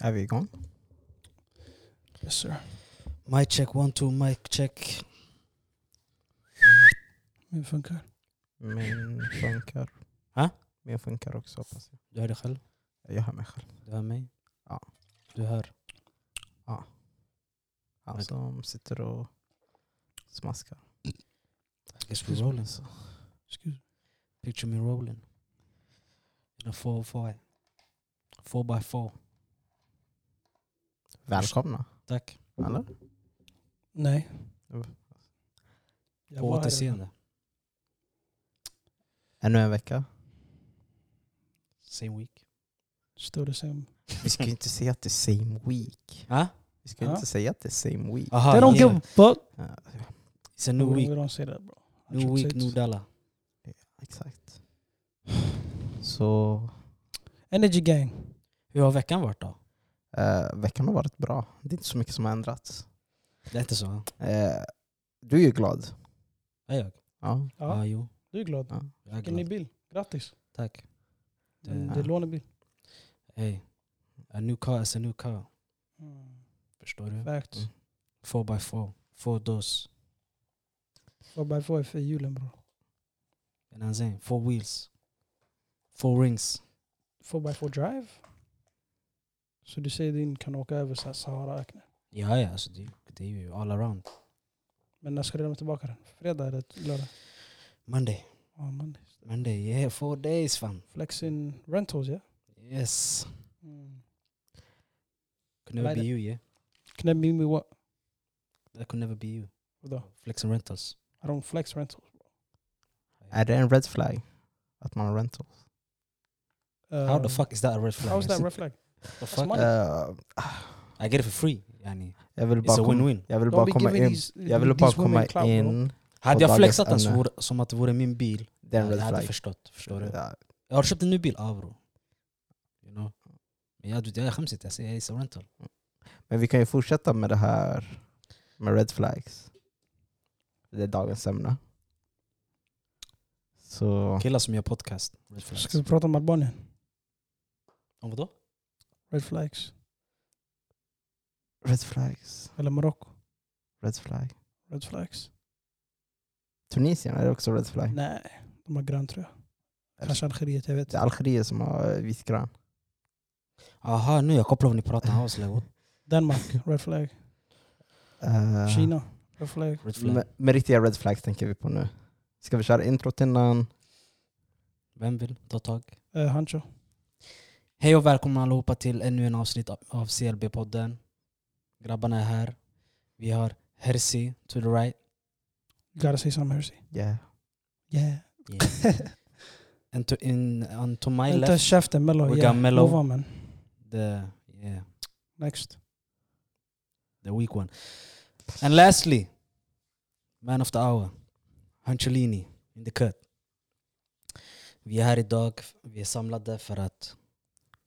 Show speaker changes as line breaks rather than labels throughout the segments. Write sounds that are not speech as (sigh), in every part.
Är vi igång?
Yes sir.
Mic check, one two, mic check.
Det funkar.
Min funkar.
Ha?
Min funkar också hoppas jag.
Du hör dig själv,
Jag hör mig själv.
du hör mig.
Ja.
Du hör.
Han
Okej.
som sitter och smaskar.
Guess we're rolling.
Excuse.
Picture me rolling. In a eh? 405. 4x4.
Välkomna.
Tack.
Eller?
Nej.
Mm.
Jag
På
var här.
återseende.
Ännu en vecka.
Same week.
Still the same.
Vi ska ju inte säga att det är same week.
Ha?
Vi ska ju
Ja.
inte säga att det är same week.
Aha,
They don't
Ah, yeah.
give a fuck.
Ja,
It's a new
We
week.
don't say that bro. I
New
should say
week,
it. (laughs)
new dollar.
exakt. Så
Energy gang.
Hur har veckan varit då?
eh, veckan har varit bra. Det är inte så mycket som har ändrats.
Det är inte så? va?
Eh, du är ju glad.
Är jag?
Ja.
Ja,
Ja,
jo.
du är glad.
ja.
Jag är
Vilken ny
glad.
bil. Grattis.
Tack.
Det
Det-
det är lånebil.
Hey. A new car is a new car.
Mm.
Förstår du?
Facts.
Mm.
4x4. Four doors.
4x4 är för hjulen bro.
You know what I'm saying? Four wheels. Four rings.
4x4 drive. Så du säger din kan åka över så här Saharaöknen.
Ja, ja. Alltså det, det är ju all around.
Men när ska du lämna tillbaka den? Fredag eller lördag?
Monday.
Ja, Monday.
Monday. Yeah, four days fan.
Flex in rentals ja.
Yes.
Mm.
Could never
Like
be you, yeah.
Can that mean me what?
That could never be you.
Vadå?
Flex and rentals.
I don't flex rentals.
Är det en red flag? Att man har rental?
How the
Um,
fuck is that a red flag?
How's that red flag?
the fuck?
money.
Eh,
I get it for free. Yani.
jag vill
It's
bara
a
komma-
win-win.
Jag vill bara
Don't be
komma
giving
in.
these-
Jag ville
these
bara
women
komma
clout, bro.
in.
Hade jag
dagens
flexat den så
ämne.
vore, som att det vore min bil,
Det är en
jag
red
hade
flag.
förstått. Förstår du?
Ja,
Jag har köpt en ny bil, ja bror. You know? Men jag, jag är skämsigt, jag säger it's a rental.
Men vi kan ju fortsätta med det här med red flags. Det är dagens ämne. Så
Killar som gör podcast. Red flags.
Ska vi prata om Albanien?
Om vadå?
Red flags.
red flags,
Eller Marocko?
red flag.
Red flags?
Tunisien är det också red flag.
Nej, de har grönt tror jag.
Eller-
Kanske Algeriet, jag vet
Det är
inte.
Algeriet som har eh, vitgrön.
Aha, nu jag kopplar vad ni
(laughs)
pratar om. I was like, what?
Danmark, red (laughs) flag.
Uh,
Kina, red flag.
Red flag.
Med, med riktiga red flags tänker vi på nu. Ska vi köra introt innan?
Vem vill ta tag?
Eh, Hancho.
Hej och välkomna allihopa till ännu en avsnitt av- av CLB-podden. Grabbarna är här. Vi har Hersi to the right.
You gotta say some mercy.
Yeah.
Yeah.
(laughs) And to, in, and to my
Inte
left,
käften Mello.
We
yeah.
got Mello.
Lova man.
the, yeah,
Next.
the weak one. And lastly, man of the hour, Hancelini in the cut. Vi är här idag, vi är samlade för att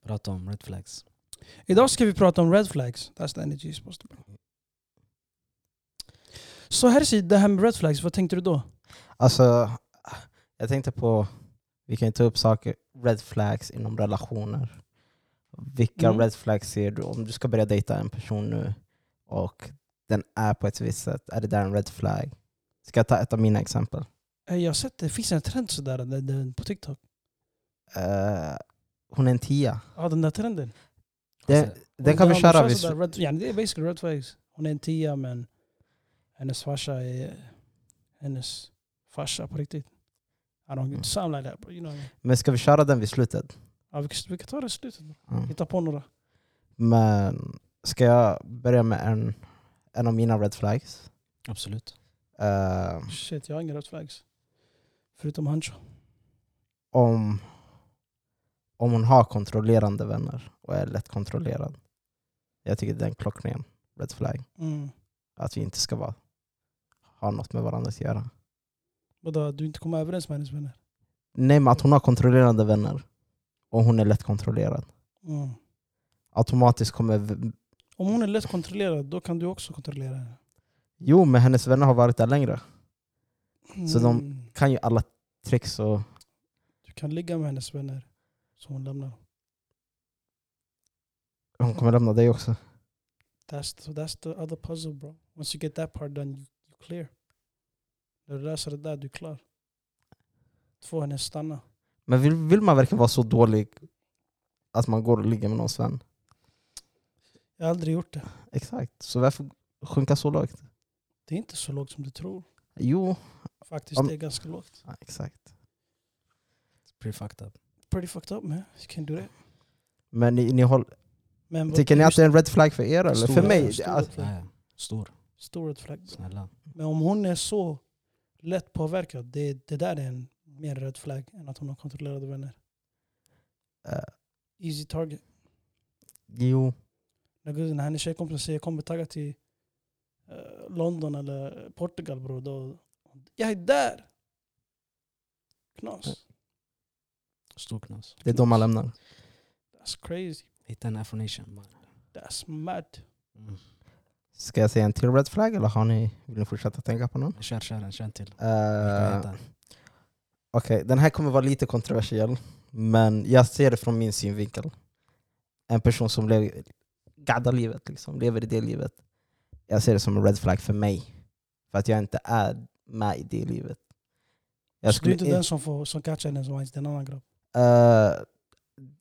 prata om red flags.
Idag ska vi prata om red flags. That's the energy you're supposed to bring. Så här ser det här med red flags, vad tänkte du då?
Alltså, jag tänkte på, vi kan ju ta upp saker, red flags inom relationer. Vilka
Mm.
red flags ser du om du ska börja dejta en person nu och den är på ett visst sätt, är det där en red flag? Ska jag ta ett av mina exempel?
Eh, Jag har sett det finns en trend sådär där- där- på TikTok.
Eh, hon är en tia.
Ja, den där trenden.
Den,
Alltså,
den kan vi
Ja, men
köra.
så-
Vis-
sådär, red, ja, det är basically red flags. Hon är en tia men hennes farsa är hennes farsa på riktigt. I don't
Mm.
mm. sound like that bro. You know, what I mean.
men ska vi köra den vid slutet?
ja, vi, kan- vi kan ta det i slutet. bro.
Mm.
Hitta på några.
Men ska jag börja med en, en av mina red flags?
Absolut.
Eh,
Shit, jag har inga red flags. Förutom Hancho.
om, om hon har kontrollerande vänner och är lättkontrollerad. Jag tycker det är en klockren red flag.
Mm.
Att vi inte ska vara, ha något med varandra att göra.
Vadå, du inte kommer överens med hennes vänner?
Nej, men att hon har kontrollerande vänner och hon är lättkontrollerad.
Mm.
Automatiskt kommer... v-
Om hon är lätt kontrollerad, då kan du också kontrollera henne.
Jo, men hennes vänner har varit där längre. Så de-
Mm.
Kan ju alla tricks och...
Du kan ligga med hennes vänner som hon lämnar.
hon kommer lämna dig också.
That's the, that's the other puzzle bro. Once you get that part done, you, you clear. När du löser det där, du är klar. Två hennes stanna.
Men vill, vill man verkligen vara så dålig att man går och ligger med någons vän?
Jag har aldrig gjort det.
Exakt, så varför sjunka så lågt?
Det är inte så lågt som du tror.
Jo,
Faktiskt,
Om-
det är ganska lågt.
ja, exakt.
It's pretty fucked up.
Pretty fucked up man. You can do that.
Men ni, ni håll,
Men vad-
tycker ni att
just
det är en red flag för er eller? För
Stor-
mig?
stor-
Alltså,
Okej.
Nej, stor.
stor red flag. bro.
Snälla.
Men om hon är så lätt påverkad, det, det där är en mer red flag än att hon har kontrollerade vänner.
eh,
Easy target.
jo,
När gud- när hennes tjejkompis säger kom vi taggar till eh, London eller Portugal bror, då jag är där! Knas.
Stor knas.
det är då man lämnar.
That's crazy.
Hitta en affirmation. man.
That's mad.
Mm.
Ska jag säga en till red flag eller har ni, vill ni fortsätta tänka på någon?
Kör, kör en, kör en till.
Eh,
Vilka heter?
Okej, den här kommer vara lite kontroversiell, men jag ser det från min synvinkel. En person som lever gadda livet, liksom, lever i det livet. Jag ser det som en red flag för mig, för att jag inte är med i det livet. Jag
Så du
skulle
är inte
in-
den som, får, som catchar henne som hans, det är en annan grabb.
Eh,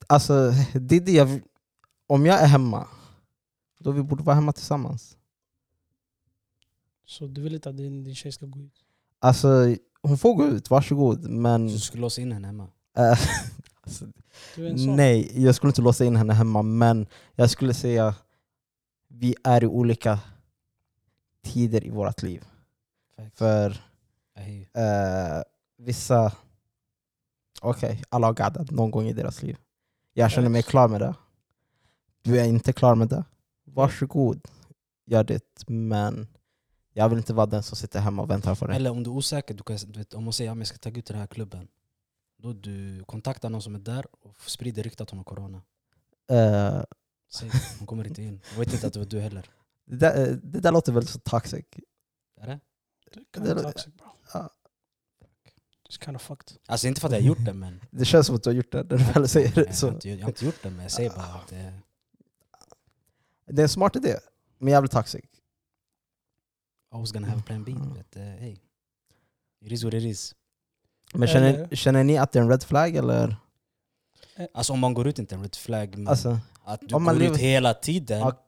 alltså, det är det jag vill- Om jag är hemma, då vi borde vara hemma tillsammans.
Så du vill inte att din, din tjej ska gå ut.
Alltså, hon får gå ut, varsågod, men...
Så Du skulle låsa in henne hemma.
eh,
Du är en sån.
Nej, jag skulle inte låsa in henne hemma, men jag skulle säga vi är i olika tider i vårt liv.
För...
För eh, vissa... Okej, alla har gaddat någon gång i deras liv. Jag känner mig
Yes.
klar med det. Du är inte klar med det. Varsågod, gör det. Men jag vill inte vara den som sitter hemma och väntar på dig.
Eller om du är osäker, du kan, du vet, om hon säger att jag ska tagga ut till den här klubben. Då du kontaktar någon som är där och sprider ryktet att hon har corona.
Eh,
Säg, hon kommer inte in. Hon vet inte att det var du heller.
det, där, det där låter väldigt så toxic.
Är det?
Du kan
Det
inte
lå-
toxic bro.
Ja.
It's kind of fucked.
Alltså inte för att jag har gjort
(laughs)
det men...
Det känns som att du har gjort det när du väl säger
Nej,
det.
jag, har
Så.
inte, jag har inte gjort det men jag säger bara att eh, det,
Det är en smart idé, men jävligt toxic.
I was gonna have plan B. But, uh, hey. It is what it is.
Men känner, Mm.
Eller-
känner ni att det är en red flag eller?
Alltså om man går ut inte en red flag men
Alltså,
att du
om man
går
lever-
ut hela tiden.
Ja.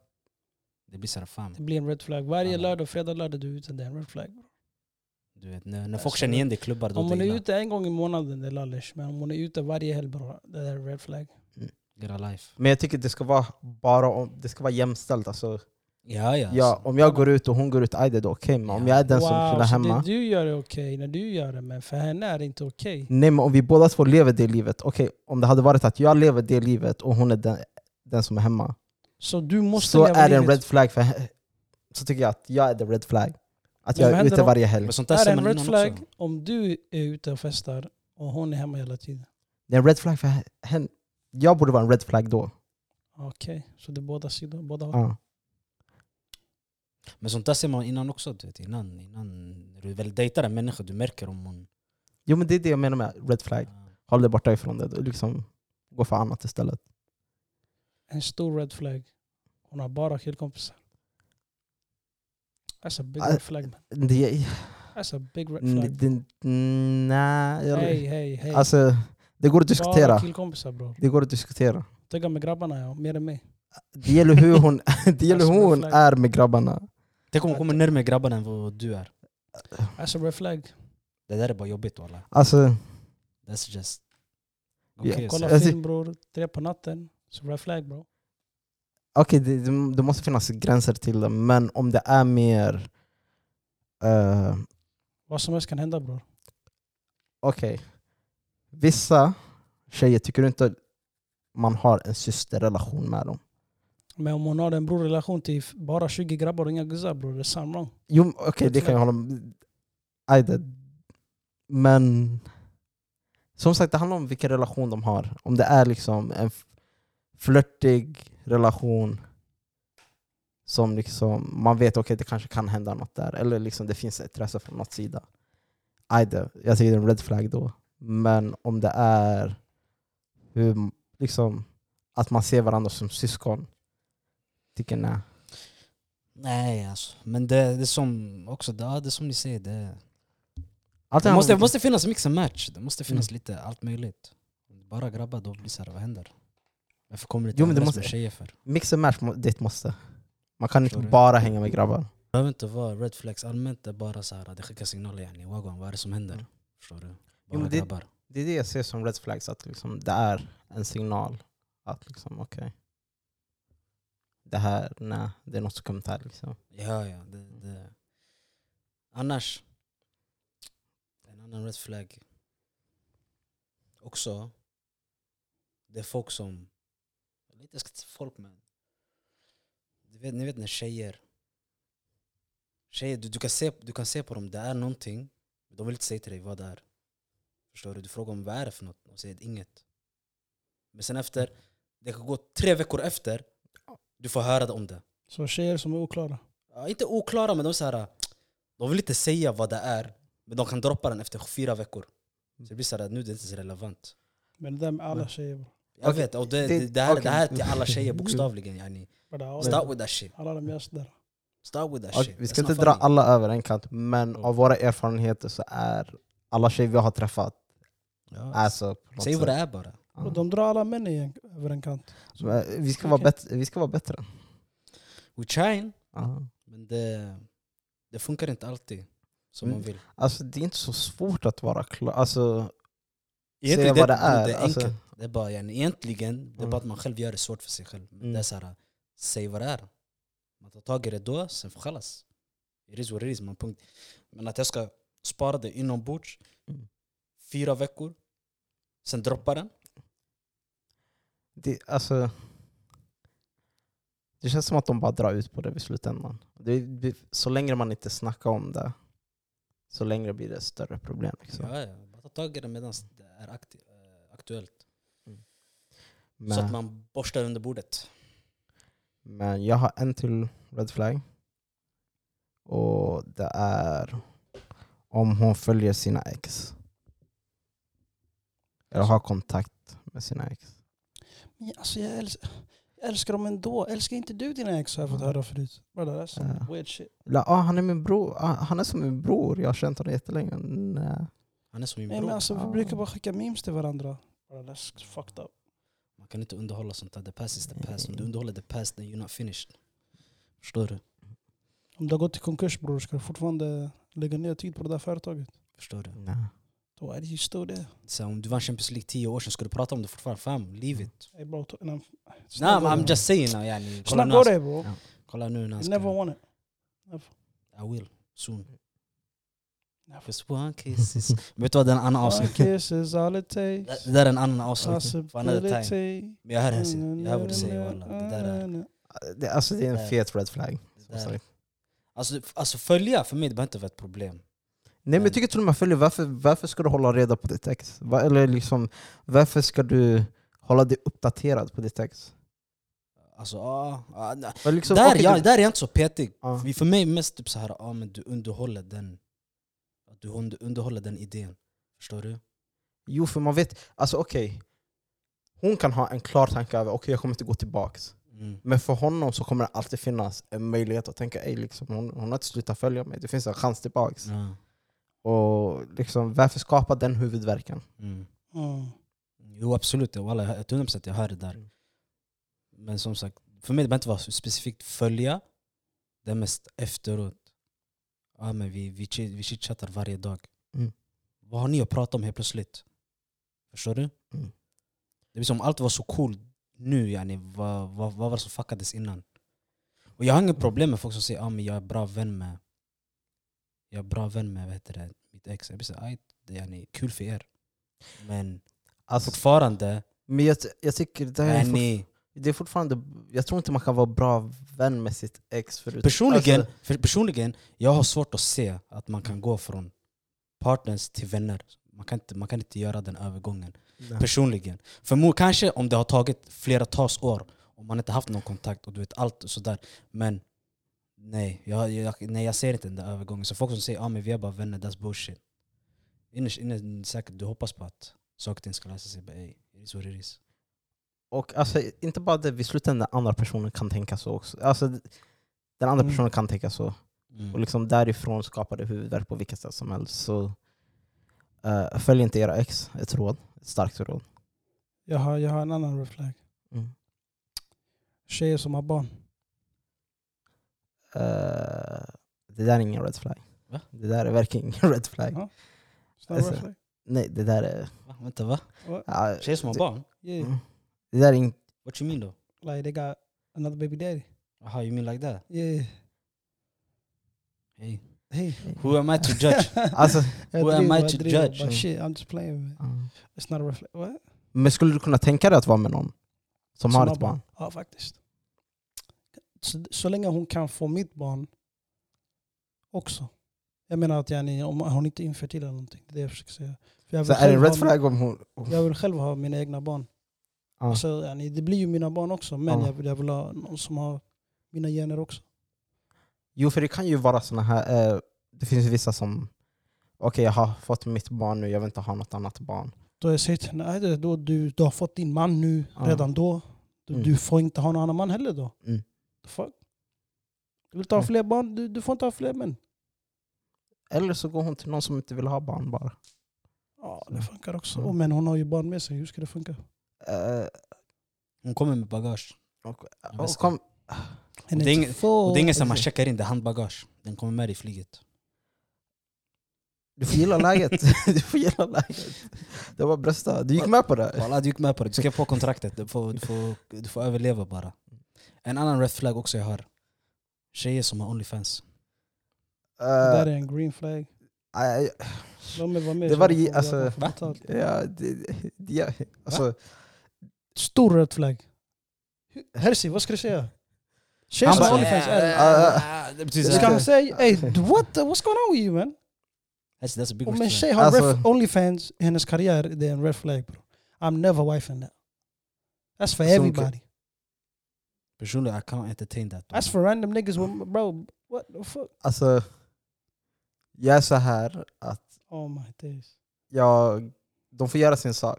Det blir såhär fan.
Det blir en red flag. Varje
Ja.
lördag, fredag, lördag du är ute, det är en red flag.
Du vet, när, när
Jag
folk
ser
känner
det.
igen dig i klubbar då
Om
det
hon
är
är
illa.
ute en gång i månaden, det är lallish. Men om hon är ute varje helg, bro, det är en red flag.
Get a life.
men jag tycker det ska vara bara om, det ska vara jämställt. Alltså,
Ja ja.
alltså.
ja, om jag går ut och hon går ut, aj det är då okej. men om
Ja.
jag är den som
wow,
chillar
så
hemma.
det du gör är okej när du gör det, men för henne är det inte okej.
Nej men om vi båda två lever det livet, okej om det hade varit att jag lever det livet och hon är den, den som är hemma.
Så du måste
så
leva
är det en
livet.
red flag för he- Så tycker jag att jag är the red flag. Att
Men
jag
vad
är
händer
ute
om-
varje helg.
Men sånt
Det
där
är
ser
en
man
red
innan
flag
också.
om du är ute och festar och hon är hemma hela tiden.
Det är en red flag för he- henne. Jag borde vara en red flag då.
Okej, så det är båda sidor. Båda håll.
Ja.
Men sånt där ser man innan också. Du vet, innan, innan när du väl dejtar en människa, du märker om hon...
Jo men det är det jag menar med red flag. Håll dig borta ifrån det. och Liksom, gå för annat istället.
En stor red flag. Hon har bara killkompisar. That's a big
Ah,
red flag man.
Det,
That's a big red
Mm, det,
flag.
det, nej, jag,
Hej, hej, hej.
alltså det går att
Bara
diskutera.
killkompisar bror.
Det går att diskutera.
Tugga med grabbarna ja, mer än mig.
Det gäller hur hon, det gäller
Alltså,
hur hon
red
är med grabbarna.
Tänk om hon kommer närmare grabbarna än vad du är.
That's a red flag.
Det där är bara jobbigt walla.
Alltså,
That's just...
Ja,
Okej,
Kolla
så-
Alltså-
film bror, tre på natten. Så red flag bro.
okej, det, det, det måste finnas gränser till det, men om det är mer... eh,
Vad som helst kan hända bror.
okej. Vissa tjejer tycker inte man har en systerrelation med dem.
Men om hon har en brorrelation till f- bara 20 grabbar och inga guzzar bror, det är sam wrong.
Jo, okej, det kan jag hålla med Aj, det- Men som sagt, det handlar om vilken relation de har. Om det är liksom en f- flörtig relation som liksom, man vet okej det kanske kan hända något där, eller liksom det finns intresse från något sida. Aj, det, jag tycker det är en red flag då. Men om det är hur, liksom, att man ser varandra som syskon, tycker nej.
Nej alltså. Men det, det är som också, det, ja, det är som ni säger. Det,
Allt
det
handlar
måste,
om-
måste finnas mix and match. Det måste finnas
Mm.
lite allt möjligt. Bara grabbar, då blir det så här, vad händer? Varför kommer du
Jo, men det
inte överens
måste-
med tjejer för?
Mix and match, må- det är ett måste. Man kan inte
Förstår du?
bara hänga med grabbar.
Det behöver inte vara red flags allmänt, det är bara så här, det skickar signaler yani. Wagwan, vad är det som händer?
Mm.
Förstår du? Bara
men det-
grabbar.
Det är det jag ser som red flags, att liksom, det är en signal. Att liksom, okej. Det här, nej, det är något skumt här
Ah,
liksom.
Ja, ja. Det, det. Annars, en annan red flag också, det är folk som, jag vet inte jag ska säga folk men, du vet, ni vet när tjejer, tjejer du, du, kan se, du kan se på dem, det är någonting, men de vill inte säga till dig vad det är. Förstår du? Du frågar om vad är det för något, de säger inget. Men sen efter, det kan gå tre veckor efter, du får höra om det.
Så tjejer som är oklara.
Ja, inte oklara, men de, är så här, de vill inte säga vad det är. Men de kan droppa den efter fyra veckor. Så det blir så här, nu är det inte så relevant.
Men det där med alla
Men-
tjejer bro.
Jag
Okej,
vet, och det,
det-
det, det, här, det här är
okej.
till alla tjejer bokstavligen. Yani.
Bara alla-
يعني Start with that shit.
Alla de görs där.
Start with that
Och
shit.
vi ska
That's
inte
not
dra
funny.
alla över en kant, men
Mm.
av våra erfarenheter så är alla tjejer vi har träffat,
Ja.
är så på något
Säg vad det
sätt.
är bara.
Ja.
Och de drar alla män i en, över en kant.
Men eh, Vi ska vara
Okej.
bättre. Vi ska vara bättre.
We trying,
Ja.
men det, det funkar inte alltid som
Mm.
man vill.
Alltså, det är inte så svårt att vara klar. Alltså,
Egentligen
vad
det,
det är,
Det är
alltså.
enkelt. Det är bara, yani, egentligen, det är
Mm.
bara att man själv gör det svårt för sig själv. Men
Mm.
det är så här, säg vad det är. Man tar tag i det då, sen får chalas. It is what it is. Man punkt. Men att jag ska spara det inombords,
Mm.
fyra veckor, sen droppa den.
det, alltså, det känns som att de bara drar ut på det vid slutändan. Det, det, så länge man inte snackar om det, så länge blir det ett större problem. Liksom.
Ja, ja. Man tar tag i det medan det är akti- eh, aktuellt.
men,
Så att man borstar under bordet.
men jag har en till red flag. Och det är om hon följer sina ex. Eller har kontakt med sina ex.
Men alltså jag älskar, jag älskar dem ändå. Älskar inte du dina ex har jag fått
Mm.
höra förut. Bara det är sån
Mm.
Ja.
weird shit.
La, ah, han är min bror. Ah, han är som min bror. Jag har känt honom jättelänge. Nej.
Han är som min
Nej
bror. Ah.
men alltså vi
Ja.
brukar bara skicka memes till varandra. Bara det är fucked up.
Man kan inte underhålla sånt där. The past is the past. Om du underhåller the past, then you're not finished. Förstår du?
Om du har gått i konkurs bror, ska du fortfarande lägga ner tid på det där företaget?
Förstår du?
Nej.
Då är det ju stor det.
Så om du vann Champions League tio år sedan, ska du prata om det fortfarande? Fam, leave it.
Hey, bro, to- and I'm-
Nej,
Snabbt
men
går
I'm
det.
just saying now yani. Kolla
Snabbt
nu
går
hans-
det bro.
Kolla nu när han
You
ska...
never won it.
I will, soon.
Never.
Just one kiss is... Men Vet du vad, det är en annan avsnitt.
One kiss is all it takes.
Det där är en annan avsnitt. För another time.
Possibility.
Men jag hör hennes... Jag hör vad du säger walla. Det där är...
(laughs) Det, alltså, det är
Nej.
en fet red flag.
Det
som
där.
sagt.
Alltså, det- alltså följa, för mig det behöver inte vara ett problem.
Nej men
Men-
jag tycker till och med följer, varför, varför ska du hålla reda på ditt ex? Va, eller liksom, varför ska du hålla dig uppdaterad på ditt ex?
Alltså, ah, ah, nej.
För liksom,
där,
okej,
ja,
du-
där är jag inte så petig.
Ja.
Ah.
För- För mig är mest typ så här, ah, men du underhåller den... Du hund- underhåller den idén. Förstår du?
Jo för man vet, alltså okej, hon kan ha en klar tanke över okej jag kommer inte gå tillbaks.
Mm.
Men för honom så kommer det alltid finnas en möjlighet att tänka ej liksom, hon, hon har inte slutat följa mig, det finns en chans tillbaks.
Ja.
Och liksom, varför skapa den huvudvärken?
Mm.
Mm.
Jo absolut, ja, wallah, jag hör- 100% jag hör det där.
Mm.
Men som sagt, för mig det behöver inte vara så specifikt följa. Det är mest efteråt. Ja, men vi, vi, chi- vi chitchattar varje dag.
Mm.
Vad har ni att prata om helt plötsligt? Förstår du?
Mm.
Det blir som allt var så cool nu, yani, vad, vad, vad var det som fuckades innan? Och jag har
Mm.
inget problem med folk som säger att ah, men jag är bra vän med jag är bra vän med vad heter det, mitt ex. Jag blir så, här, "Aj, det är yani, kul för er. Men
Alltså,
fortfarande,
men jag, jag tycker det, här är, fort,
yani,
det är fortfarande, jag tror inte man kan vara bra vän med sitt ex förut.
personligen, för personligen, jag har svårt att se att man kan gå från partners till vänner. Man kan inte, man kan inte göra den övergången.
Alltså,
Personligen. För mo- kanske om det har tagit flera tals år, om man inte haft någon kontakt och du vet allt och sådär. Men nej, jag, jag, nej, jag ser inte den där övergången. Så folk som säger att ah, men vi är bara vänner, that's bullshit. Innerst inne säkert du hoppas på att saker och ting ska lösa sig. But, hey, it is what it is.
Och alltså, inte bara det, vid slutändan den andra personen kan tänka så också. Alltså, den andra
Mm.
personen kan tänka så. Och liksom därifrån skapar det huvudvärk på vilket sätt som helst. Så eh, följ inte era ex, ett råd. Ett starkt råd.
Jag har, jag har en annan red flag.
Mm.
Tjejer som har barn.
Eh, det där är ingen red flag.
Va?
Det där är verkligen ingen red flag.
Ja. Snarare
Alltså,
red flag.
Nej, det där är...
Va? Vänta va?
ja,
Tjejer som har
det-
barn?
Yeah,
Mm. Det där är inte...
What you mean då?
like they got another baby daddy.
Aha, you mean like that?
Yeah.
Hey.
Hey.
Who am I to judge?
Alltså,
Jag
Who am
driver,
I
jag
to
driver,
judge?
But shit, I'm just playing. Man.
ja.
It's not a red flag. What?
Men skulle du kunna tänka dig att vara med någon som, har
Som
ett barn?
Ja, faktiskt. Så, så länge hon kan få mitt barn också. Jag menar att yani, om hon inte är infertil eller någonting. Det är det jag försöker säga. För jag
Så
vill
är det en
själv
red
ha min-
flag om hon...
Jag vill själv ha mina egna barn.
Ja.
Så, yani, det blir ju mina barn också, men
Ja.
jag, vill, jag vill ha någon som har mina gener också.
Jo, för det kan ju vara såna här... Eh, det finns ju vissa som... Okej, jag har fått mitt barn nu, jag vill inte ha något annat barn.
Då har jag sagt till henne, "Nej, det- då, du, du har fått din man nu,
Ja.
redan då. Du,
Mm.
du får inte ha någon annan man heller då.
Mm.
The Fuck. Du vill inte ha
Ja.
fler barn, du, du får inte ha fler män.
Eller så går hon till någon som inte vill ha barn bara.
Ja,
Mm.
det funkar också.
Ja.
Oh, men hon har ju barn med sig, hur ska det funka?
Eh,
Hon kommer med bagage.
och,
Jag
och
visste.
kom,
Hon
det är inget-
två.
Och det är ingen som man
okej.
checkar in, det är handbagage. Den kommer med dig i flyget.
du får gilla
(laughs)
läget. (laughs) du får gilla läget. Det var brösta. Du gick med på det.
Walla, du gick med på det. Du skrev på kontraktet. Du får, du får, du får överleva bara. En annan red flag också jag har. Tjejer som har Onlyfans.
Det där
Eh,
är en green flag.
nej,
De vill vara med.
Det
så
var
de
ju-
får-
alltså,
de får
va?
betalt.
ja, det, det, ja, alltså,
Stor red flag. Hersi, vad ska du säga? Tjejer
Han
som
bara-
har Onlyfans, eh, dus
Ja,
är-
ja,
det
ja.
Ska
betyder...
han säga hey, what the, what's going on with you man?
That's, that's a big
Om en
red flag.
tjej har
Alltså-
ref, Onlyfans i hennes karriär, det är en red flag bro. I'm never wifing that. That's for
Som-
everybody.
Personligen, I can't entertain that.
That's for random niggas with, bro, what the fuck?
alltså, jag är så här att
Oh my days.
jag, de får göra sin sak.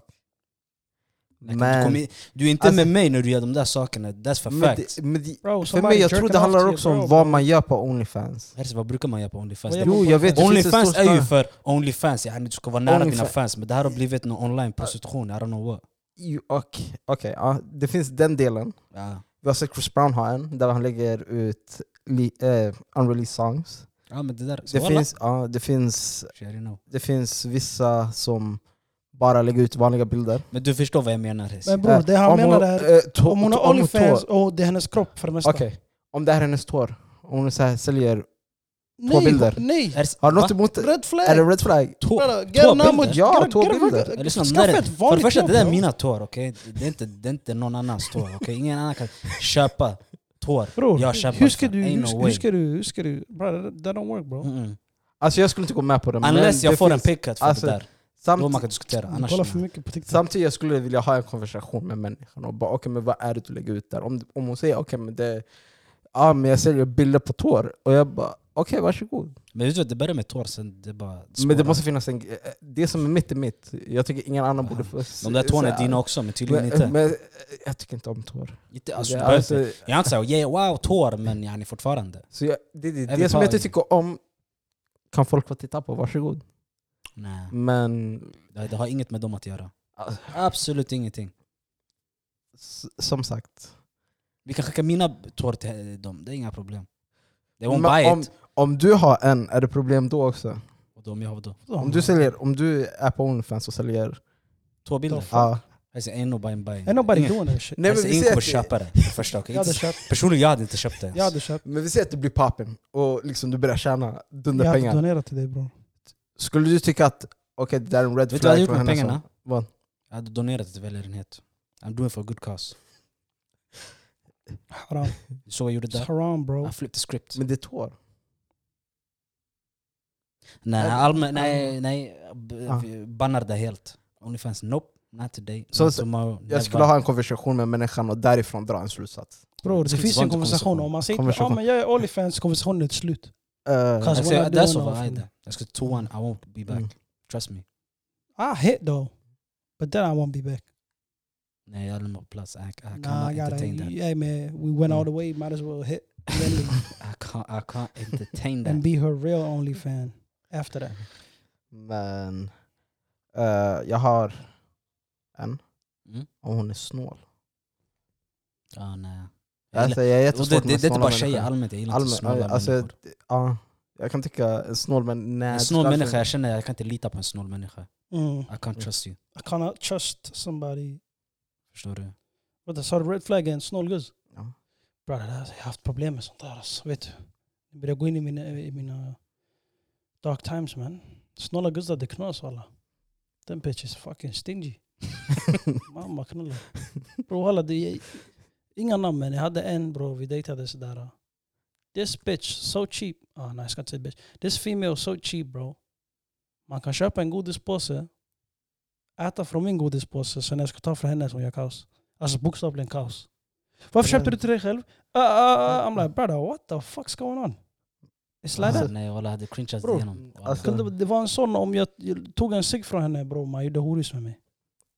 Like, du, kommer
Men,
in, du är inte
Alltså-
med mig när du gör de där sakerna. That's for
men,
fact.
det- men det-
Bro,
för mig, jag tror det handlar också om vad man gör på Onlyfans.
Herse, vad brukar man göra på Onlyfans?
Vad
Det-
gör man
Jo,
på
jag vet. det finns en
Onlyfans
stor
är
skala.
ju för Onlyfans, yani du ska vara nära dina
Onlyfans.
fans. Men det här har blivit någon online prostitution, I don't know what.
Jo, Okej, okej, ja, det finns den delen.
Ja,
Vi har sett Chris Brown ha en, där han lägger ut li, eh, unreleased songs.
ja men det där...
Det finns, ja, det, finns,
Shit, I don't know.
det finns vissa som bara lägger ut vanliga bilder.
Men du förstår vad jag menar Herse.
Men bror, det han
Om hon-
menar är
eh, tå-
om hon
tå-
har
hon
Onlyfans oh,
tår.
och det är hennes kropp för det mesta.
Okej, om det här är hennes tår. Om hon så här säljer...
Nej,
Två bilder.
Nej!
Herse,
Har du
va?
något emot det?
Red flag!
Är det red flag?
Tå-
Brother,
tå
get an
bilder?
ammo-
Ja,
get a-
två
get a
bilder.
record-
Jag lyssnar,
Skaffa
det där är-
ett
För det
vanligt
första,
jobb,
det där är
bro.
mina tår, okej? Det, är inte, det är inte någon annans tår, okej? Ingen annan kan köpa tår.
Bror,
jag köper
hur ska
inte.
du...
Ain't
Hur
no
ska,
way. Mm.
hur ska du... Hur ska du... Bro, that- that don't work bro.
Mm-mm.
Alltså jag skulle inte gå med på det. men
Unless jag
det
får
finns-
en pickcut för
alltså,
det där. Då man
Samt,
kan diskutera.
Du
Annars
kollar för mycket på TikTok.
samtidigt jag skulle jag vilja ha en konversation med människan och bara okej men vad är det du lägger ut där? Om, om hon säger okej men det... Ja men jag säljer bilder på tår. Och jag bara okej varsågod.
Men vet du vad, det börjar med tår, sen det bara...
Men det
spårar.
måste finnas en... Det som är mitt är mitt. Jag tycker ingen annan borde få...
De där tårna är dina också, men tydligen inte.
Men, men jag tycker inte om tår.
inte alltså,
Det
du
är
behöver
alltså-
inte- jag är inte såhär yeah, wow tår, men yani fortfarande.
Så jag, det, det, det
Every
som jag inte
time.
tycker om kan folk få titta på, varsågod.
Nej,
Men
det, det har inget med dem att göra.
alltså,
Absolut ingenting.
s- som sagt,
Vi kan skicka mina tår till dem, det är inga problem. They won't
Men
buy
om-
it.
om du har en är det problem då också.
Och de jag har då.
Om du, säljer, om du är på Onlyfans och säljer...
Tårbilder.
Ja.
Jag säger ain't nobody buying.
Ain't nobody
Ingen-
doing that shit.
Nej,
alltså,
vi
ingen
säger
kommer
att det-
köpa det. för det Första, okay?
Jag hade
inte,
köpt.
personligen, jag hade inte köpt det. ens.
Jag hade köpt.
Men vi säger att det blir pappen och liksom du börjar tjäna
Jag hade
dunderpengar.
donerat till dig bror.
Skulle du tycka att okej det där är en red
Vet du vad jag hade
flag
gjort
från
med
henne?
pengarna?
som- Vad?
Jag hade donerat det till välgörenhet. I'm doing for a good cause.
Haram.
Du såg vad jag gjorde
It's
där? Alltså,
haram bro.
I flipped the script.
Men det är tår.
Nej, allmän, nej, nej. b-
Ah.
vi Bannar det helt. Onlyfans, nope. Not today,
Så-
not tomorrow, never.
Jag skulle ha en konversation med människan och därifrån dra en slutsats.
Bror, det
Skriv
finns
sånt
en
till
konversation.
konversation.
Om man säger inte
Konversation.
ah, men jag är Onlyfans, konversationen är till slut.
Eh,
Kan-
Jag
Alltså,
säger,
we're not
that's
doing
over
nothing.
either. Jag ska to one, I won't be back.
Mm.
Trust me.
Ah, I hit though. But then I won't be back.
Nej, jag lämnar plats. I, I cannot
Nah, I gotta.
entertain that.
Hey man, we went all
Mm.
the way. Might as well hit the ending
(laughs) I can't, I can't entertain
and
that.
be her real only fan after that.
mm. Men eh, jag har en,
Mm.
och hon är snål.
Ja, nej. Jag
Alltså,
gillar-
jag är
Och
jättesvårt
det, det, det är
med
inte
snåla
bara tjejer
människor.
allmänt. Jag gillar inte
Allmänt,
snåla
alltså,
människor.
Ja, jag kan tycka en snål men... Nej,
En snål människa, jag känner jag kan inte lita på en snål människa.
Mm.
I can't trust you.
I cannot trust somebody
Förstår du?
But that's har red flag en snål guzz.
Ja.
Bra, det där, jag har haft problem med sånt där alltså, vet du. Jag börjar gå in i mina, i mina dark times man. Snåla guzzar det knas alla. Den bitch is fucking stingy. Mamma knulla. Bro alla, det är inga namn men jag hade en bro, vi dejtade sådär. This bitch so cheap. Ah nej jag ska inte säga bitch. This female so cheap bro. Man kan köpa en godispåse, äta från min godispåse, sen när jag ska ta från henne som gör kaos. Alltså bokstavligen kaos. Varför köpte du till dig själv? Uh, uh, uh, I'm like brother, what the fuck's going on? It's like
Ah,
that.
nej, jag hade cringeat
Bro,
igenom. Wallah.
alltså-
Kunde, det var en sån, om jag, jag tog en cigg från henne bror, man gjorde horus med mig.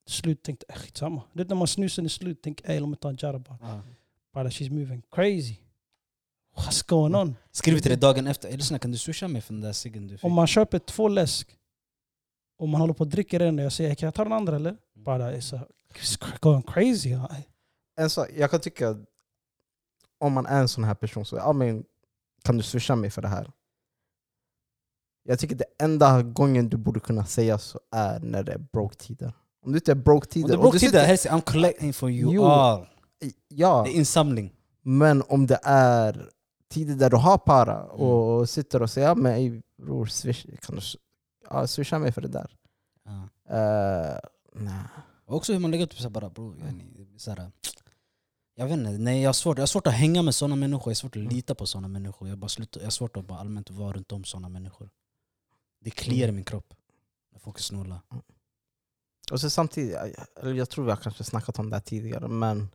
Till slut tänkte jag, "Äh, skitsamma. Det är när man snusen är slut, tänk ey låt mig ta en jarra bara.
Ja.
Brother she's moving crazy. What's going on?
Skriv till dig dagen efter. "Ey, Lyssna, kan du swisha mig för den där ciggen du fick?
Om man köper två läsk och man håller på och dricker en och jag säger kan jag ta den andra
Mm.
eller? Bara it's, a, it's cr- going crazy. ja.
en sak, jag kan tycka, om man är en sån här person, så ja, men, kan du swisha mig för det här? Jag tycker det enda gången du borde kunna säga så är när det är broke-tider. Om du inte är
Om
broke-tider...
det är
och du
broktider,
sitter-
hälsa, I'm collecting for you
Jo.
all.
Ja,
Det är insamling.
men om det är tider där du har para
Mm.
och sitter och säger ja, men, ey, bror, swish, kan du s- ja, swisha mig för det där?
Ja.
Eh, nej.
Och också hur man lägger upp så här bara bro, yani, så här, Jag vet inte, nej, jag, har svårt, jag har svårt att hänga med sådana människor, jag har svårt att lita på sådana människor. Jag, bara slutar, jag har svårt att bara allmänt vara runt om sådana människor. Det kliar i min kropp när folk är snåla.
Och så samtidigt, eller jag tror vi har kanske snackat om det här tidigare, men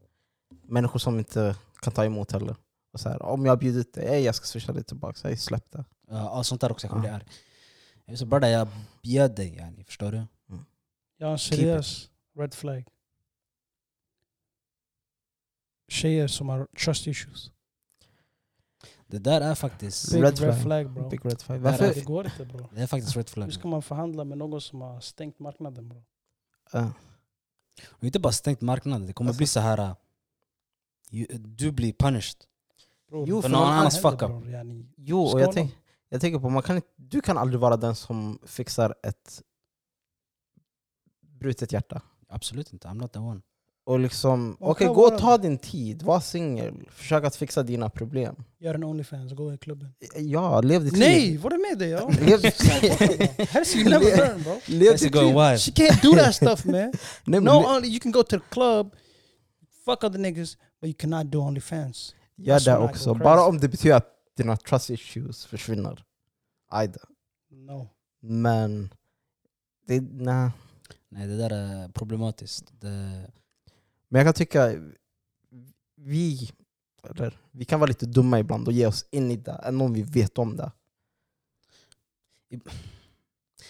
människor som inte kan ta emot heller. Och så här, om jag har bjudit dig, "Ey, jag ska swisha dig tillbaka, hey, släpp det.
Ja, ja, sånt där också, jag kommer
Ja.
bli arg. Jag är så bara jag bjöd dig yani, förstår du?
Jag har en
Keep it.
seriös red flag. Tjejer som har trust issues.
Det där är faktiskt,
Big
Red
red flag,
flag.
bro.
Big red flag.
Varför-
Varför?
Det går inte
(laughs)
bro.
det är faktiskt red flag.
Hur ska man förhandla med någon som har stängt uh, marknaden bro?
Ja.
Och inte bara stängt marknaden, det kommer
Alltså-
bli så här. äh, ju- Du blir punished.
bro
Jo,
för någon annans fuck up.
Yani,
Jo, och jag, tänk, jag tänker på, man kan, inte- du kan aldrig vara den som fixar ett brutet hjärta.
Absolut inte, I'm not the one.
Och liksom,
Man
okej
kan
gå
vara-
och ta din tid, var singel, försök att fixa dina problem.
Gör en Onlyfans, gå i klubben.
Ja, lev ditt
Nej,
liv.
vad är med
(laughs)
dig? ja?
Lev ditt (laughs)
Hersey, you never learn bro.
Lev
Let's
ditt
go
liv.
wild.
She can't do
(laughs)
that stuff man.
Nej, men
No,
le-
only you can go to the club, fuck other niggas, but you cannot do OnlyFans.
Gör
That's
Alltså,
det
when I go
också,
crazy.
bara om det betyder att dina trust issues försvinner. Ajde.
No.
Men... Det, nej.
Nej, det där är problematiskt. Det,
Men jag kan tycka vi, eller, vi kan vara lite dumma ibland och ge oss in i det, även om vi vet om det.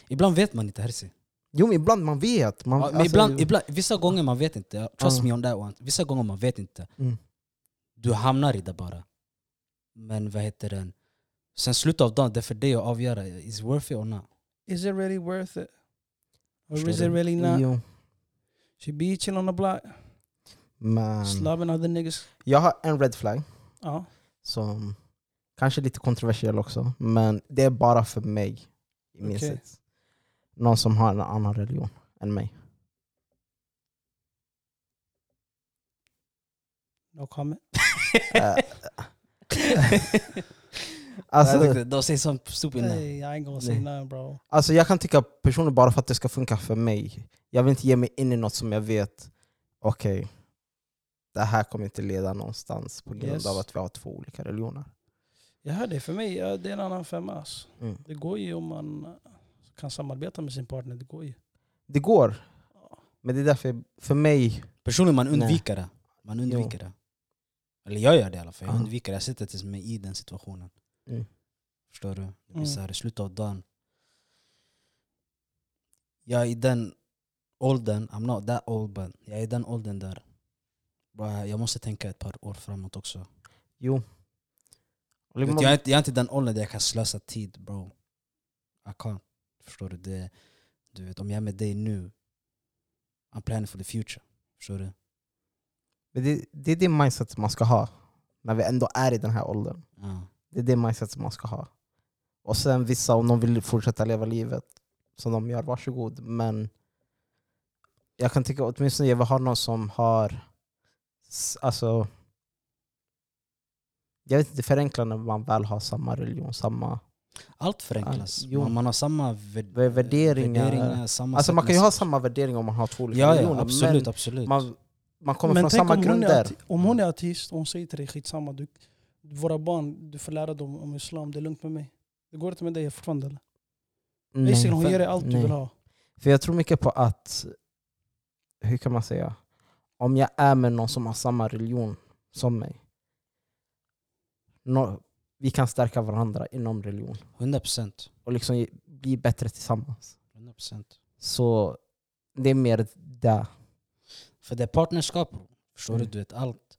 Ibland vet man inte Herzi.
Jo men ibland man vet. Man,
Ja, men
alltså,
ibland, ibland, vissa gånger man vet inte. Trust
Ja.
me on that one. Vissa gånger man vet inte.
Mm.
Du hamnar i det bara. Men vad heter den? Sen slutet av dagen, det är för dig att avgöra. Is it worth it or not?
Is it really worth it? Or is
Sure.
it really not?
jo,
She be chilling on the block,
men
slobbing other niggas. Uh,
jag har en red flag
Ja.
som kanske är lite kontroversiell också, men det är bara för mig. I min
Okej.
sits. Någon som har en annan religion än mig.
No comment.
Eh, (laughs) alltså,
Jag tänkte, de säger sånt stupid hey.
Hey, I ain't gonna say
Nej.
nothing bro.
Alltså jag kan tycka personer bara för att det ska funka för mig. Jag vill inte ge mig in i något som jag vet, okej, det här kommer inte leda någonstans på grund
Yes.
av att vi har två olika religioner.
Jag hör dig, för mig ja, det är en annan femma alltså.
Mm.
Det går ju om man eh, kan samarbeta med sin partner, det går ju.
Det går, men det är därför, för mig,
Personligen, man undviker det. Man undviker det. Eller jag gör det i alla fall. Jag
Ja.
undviker det. Jag sitter tills mig i den situationen.
Mm.
Förstår du? Det blir
Mm.
så här, i slutet av dagen. Jag är i den åldern, I'm not that old but jag är den åldern där. Bara, jag måste tänka ett par år framåt också.
Jo. Och
Vet,
liksom,
du, jag, är inte, jag är inte den åldern där jag kan slösa tid bro. I can't. Förstår du? Det, du vet, om jag är med dig nu, I'm planning for the future. Förstår du?
men det, det är det mindset man ska ha när vi ändå är i den här åldern.
Ja.
Det är det mindset som man ska ha. Och sen vissa, om de vill fortsätta leva livet som de gör, varsågod. Men jag kan tycka åtminstone jag vill ha någon som har... s- Alltså, jag vet inte, förenkla när man väl har samma religion, samma...
Allt förenklas.
Ja, jo.
man, man har samma vär,
Vär- värderingar.
samma
Alltså
sätt
man kan ju
att-
ha samma värdering om man har två olika
ja, ja,
religioner.
absolut,
men
absolut.
man, man kommer
Men
från
tänk
samma
om hon, är,
grunder. Mm.
ate- om hon är ateist och hon säger till dig skitsamma, du, våra barn, du får lära dem om islam, det är lugnt med mig. Det går inte med dig fortfarande eller?
Nej,
Basically, hon
för-
ger dig allt du
nej.
vill ha.
För jag tror mycket på att, hur kan man säga, om jag är med någon som har samma religion som mig, nå- vi kan stärka varandra inom religion
100 procent.
och liksom ge- bli bättre tillsammans.
100 procent.
Så det är mer det.
För det är partnerskap. bro. Förstår
Mm.
du? Du vet allt.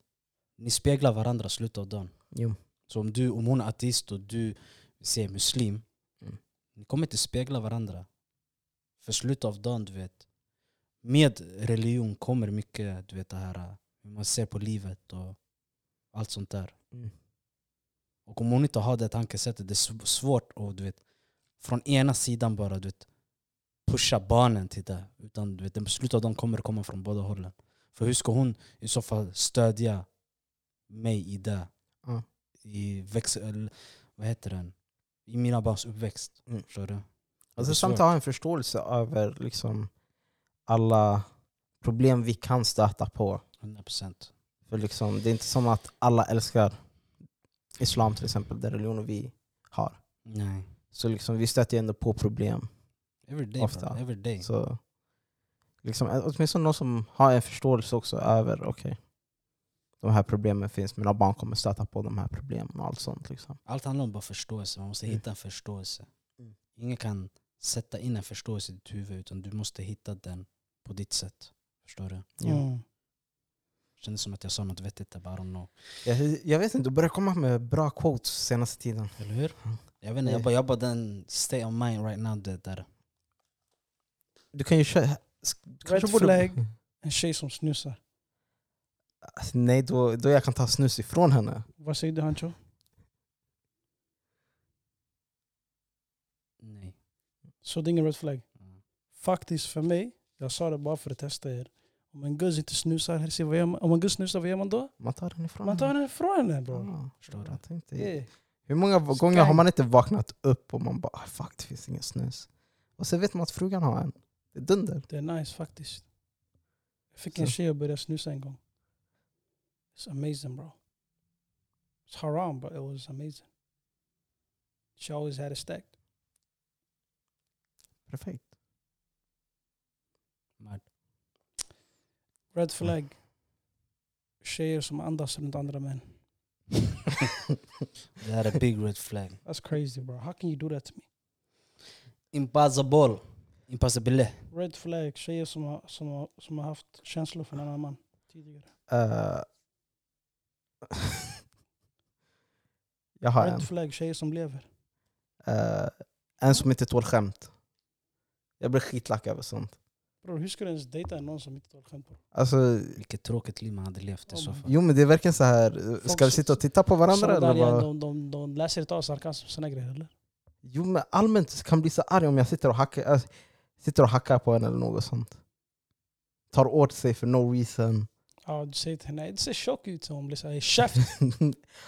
Ni speglar varandra i slutet av dagen.
Jo.
Så om, du, om hon är ateist och du ser muslim,
Mm.
ni kommer inte spegla varandra. För slutet av dagen, du vet. Med religion kommer mycket, du vet det här, eh, hur man ser på livet och allt sånt där.
Mm.
Och om hon inte har det tankesättet, det är sv- svårt att du vet, från ena sidan bara du vet, pusha barnen till det. Utan du vet, den beslut av dem kommer komma från båda hållen. För hur ska hon i så fall stödja mig i det?
Ja.
I växel, vad heter den? I mina barns uppväxt.
Mm.
Förstår du?
Och
Det är
sen samtidigt
svårt.
ha en förståelse över liksom alla problem vi kan stöta på.
100%.
För liksom, det är inte som att alla älskar islam till exempel, den religionen vi har.
Nej.
Så liksom, vi stöter ju ändå på problem.
Every day.
Ofta.
Ofta. Every day.
Så, liksom, ä- åtminstone någon som har en förståelse också över okej, de här problemen finns, mina barn kommer stöta på de här problemen och allt sånt. Liksom.
Allt handlar om bara förståelse. Man måste
Mm.
hitta en förståelse.
Mm.
Ingen kan sätta in en förståelse i ditt huvud utan du måste hitta den på ditt sätt. Förstår du?
Ja.
Mm.
Kändes som att jag sa något vettigt där, bara I don't know.
Jag, jag vet inte, du börjar komma med bra quotes senaste tiden.
Eller hur?
Mm.
Jag vet inte, jag
Eh.
bara, jag bara den state of mind right now. Det där.
Du kan ju köra... s- du kanske
Red
borde-
flag. En tjej som snusar.
Alltså, nej, då, då jag kan ta snus ifrån henne.
Vad säger du Hancho?
Nej.
Så det är ingen red flag.
Mm.
Faktiskt för mig, jag sa det bara för att testa er. Om en guzz inte snusar, här ser vad gör man? om en guzz snusar, vad gör man då?
Man tar den ifrån
Man tar henne ifrån henne
henne.
bror.
Ja,
Förstår du?
jag tänkte,
Yeah.
Hur många
Skank.
gånger har man inte vaknat upp och man bara "Ah, fuck, det finns ingen snus. Och så vet man att frugan har en. Det är dunder.
Det är nice faktiskt. Jag fick en
Så.
tjej att börja snusa en gång. It's amazing bro. It's haram but it was amazing. She always had it stacked.
Perfekt.
Mad.
Red flag. Tjejer som andas runt andra män.
Det här är big red flag.
That's crazy bro. How can you do that to me?
Impossible. Impossible.
Red flag. Tjejer som har, som har, som har haft känslor för en annan man tidigare.
Eh. (laughs) jag har en.
Red flag. Tjejer som lever.
Eh, en som inte tål skämt. Jag blir skitlack över sånt.
Bror hur ska du ens dejta någon som inte tar skämt? bror?
Alltså,
Vilket tråkigt liv man hade levt i
Oh
så
my
fall.
jo men det är verkligen så här. eh,
Folk
ska vi sitta och titta på varandra
Sådana
eller
där, ja,
vad?
de, de, de läser inte av sarkasm och såna grejer eller?
Jo men allmänt kan bli så arg om jag sitter och hackar, alltså, sitter och hackar på en eller något sånt. Tar åt sig för no reason.
Ja, du säger till henne, det ser tjock ut. Så hon blir såhär, käft!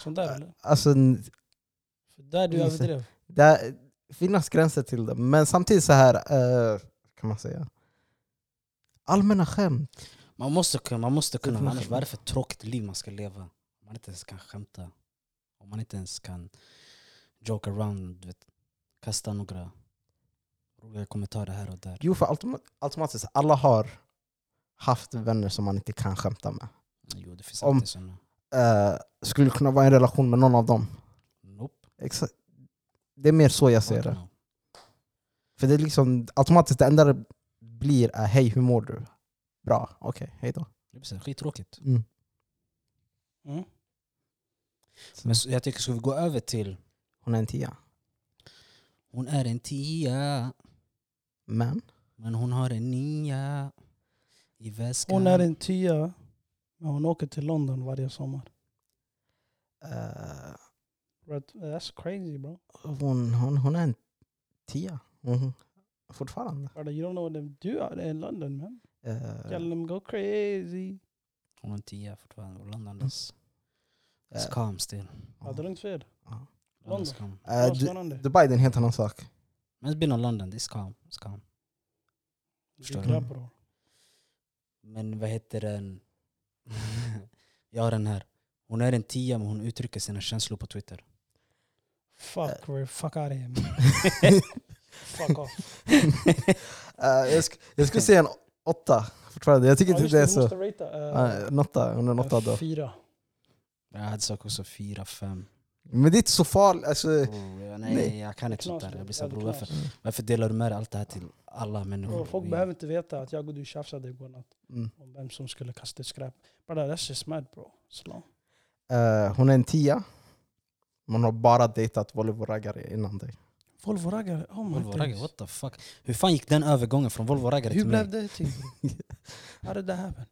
Sånt där eller?
(laughs) alltså, n-
För där du
Precis.
överdrev.
det finns gränser till det. Men samtidigt så här, eh, kan man säga. Allmänna skämt.
Man måste kunna, man måste kunna.
får man
Annars,
skämta.
vad är det för tråkigt liv man ska leva? Om man inte ens kan skämta. Om man inte ens kan joke around. Du vet, kasta några roliga kommentarer här och där.
Jo, för automa- automatiskt, alla har haft vänner som man inte kan skämta med.
Jo, det finns
Om-
alltid sådana.
Eh, skulle kunna vara i en relation med någon av dem.
Nope.
Exakt. Det är mer så jag
I
ser
don't
det.
know.
För det är liksom automatiskt det enda blir är hej hur mår du? Bra, okej, hej då.
Det blir så här skittråkigt.
Mm.
Mm.
Men så- jag tycker, ska vi gå över till
Hon är en tia.
hon är en tia,
Men,
men hon har en nia i väskan.
Hon är en tia, men hon åker till London varje sommar.
eh,
But uh, that's crazy bro.
hon, hon, hon är en tia. Hon, fortfarande.
Brother, you don't know what them do out there in London man.
Eh,
Tell them go crazy.
Hon är en tia fortfarande. London, that's,
eh,
that's calm still.
Hade du inte fel?
ja.
London's calm.
Eh,
Vad
Äh, Du-
sa han det?
Dubai det är en helt annan sak.
Men it's been on London, it's calm. It's calm.
Det
förstår
är
du?
crap, bror.
Men vad heter den? (laughs) jag har den här. Hon är en tia men hon uttrycker sina känslor på Twitter.
Äh.
Fuck, we're fuck out of
(laughs)
here. man. Fuck off.
Eh, jag, sk- jag skulle säga en åtta fortfarande. Jag tycker
Ja,
inte
just
det är
vi
så.
måste ratea, eh,
Uh, en åtta, hon är en åtta då.
Fyra.
Jag hade sagt också fyra, fem.
Men det är inte så farligt. Alltså,
Oh, ja, nej,
nej.
jag kan inte sånt där.
Knas,
Jag blir så här,
det
bror
är
varför,
knas.
varför delar du med dig allt det här till alla människor?
Bror, Folk
Vi-
behöver inte veta att jag och du tjafsade igår natt
mm.
om vem som skulle kasta skräp. Brother, that's just mad bro. Slow.
Eh, hon är en tia. Man har bara dejtat volleybollraggare innan dig.
Volvo-raggare, oh my
Volvo-raggare,
days.
what the fuck? Hur fan gick den övergången från Volvo-raggare
Hur
till mig?
blev det
(laughs)
till? How did that happen?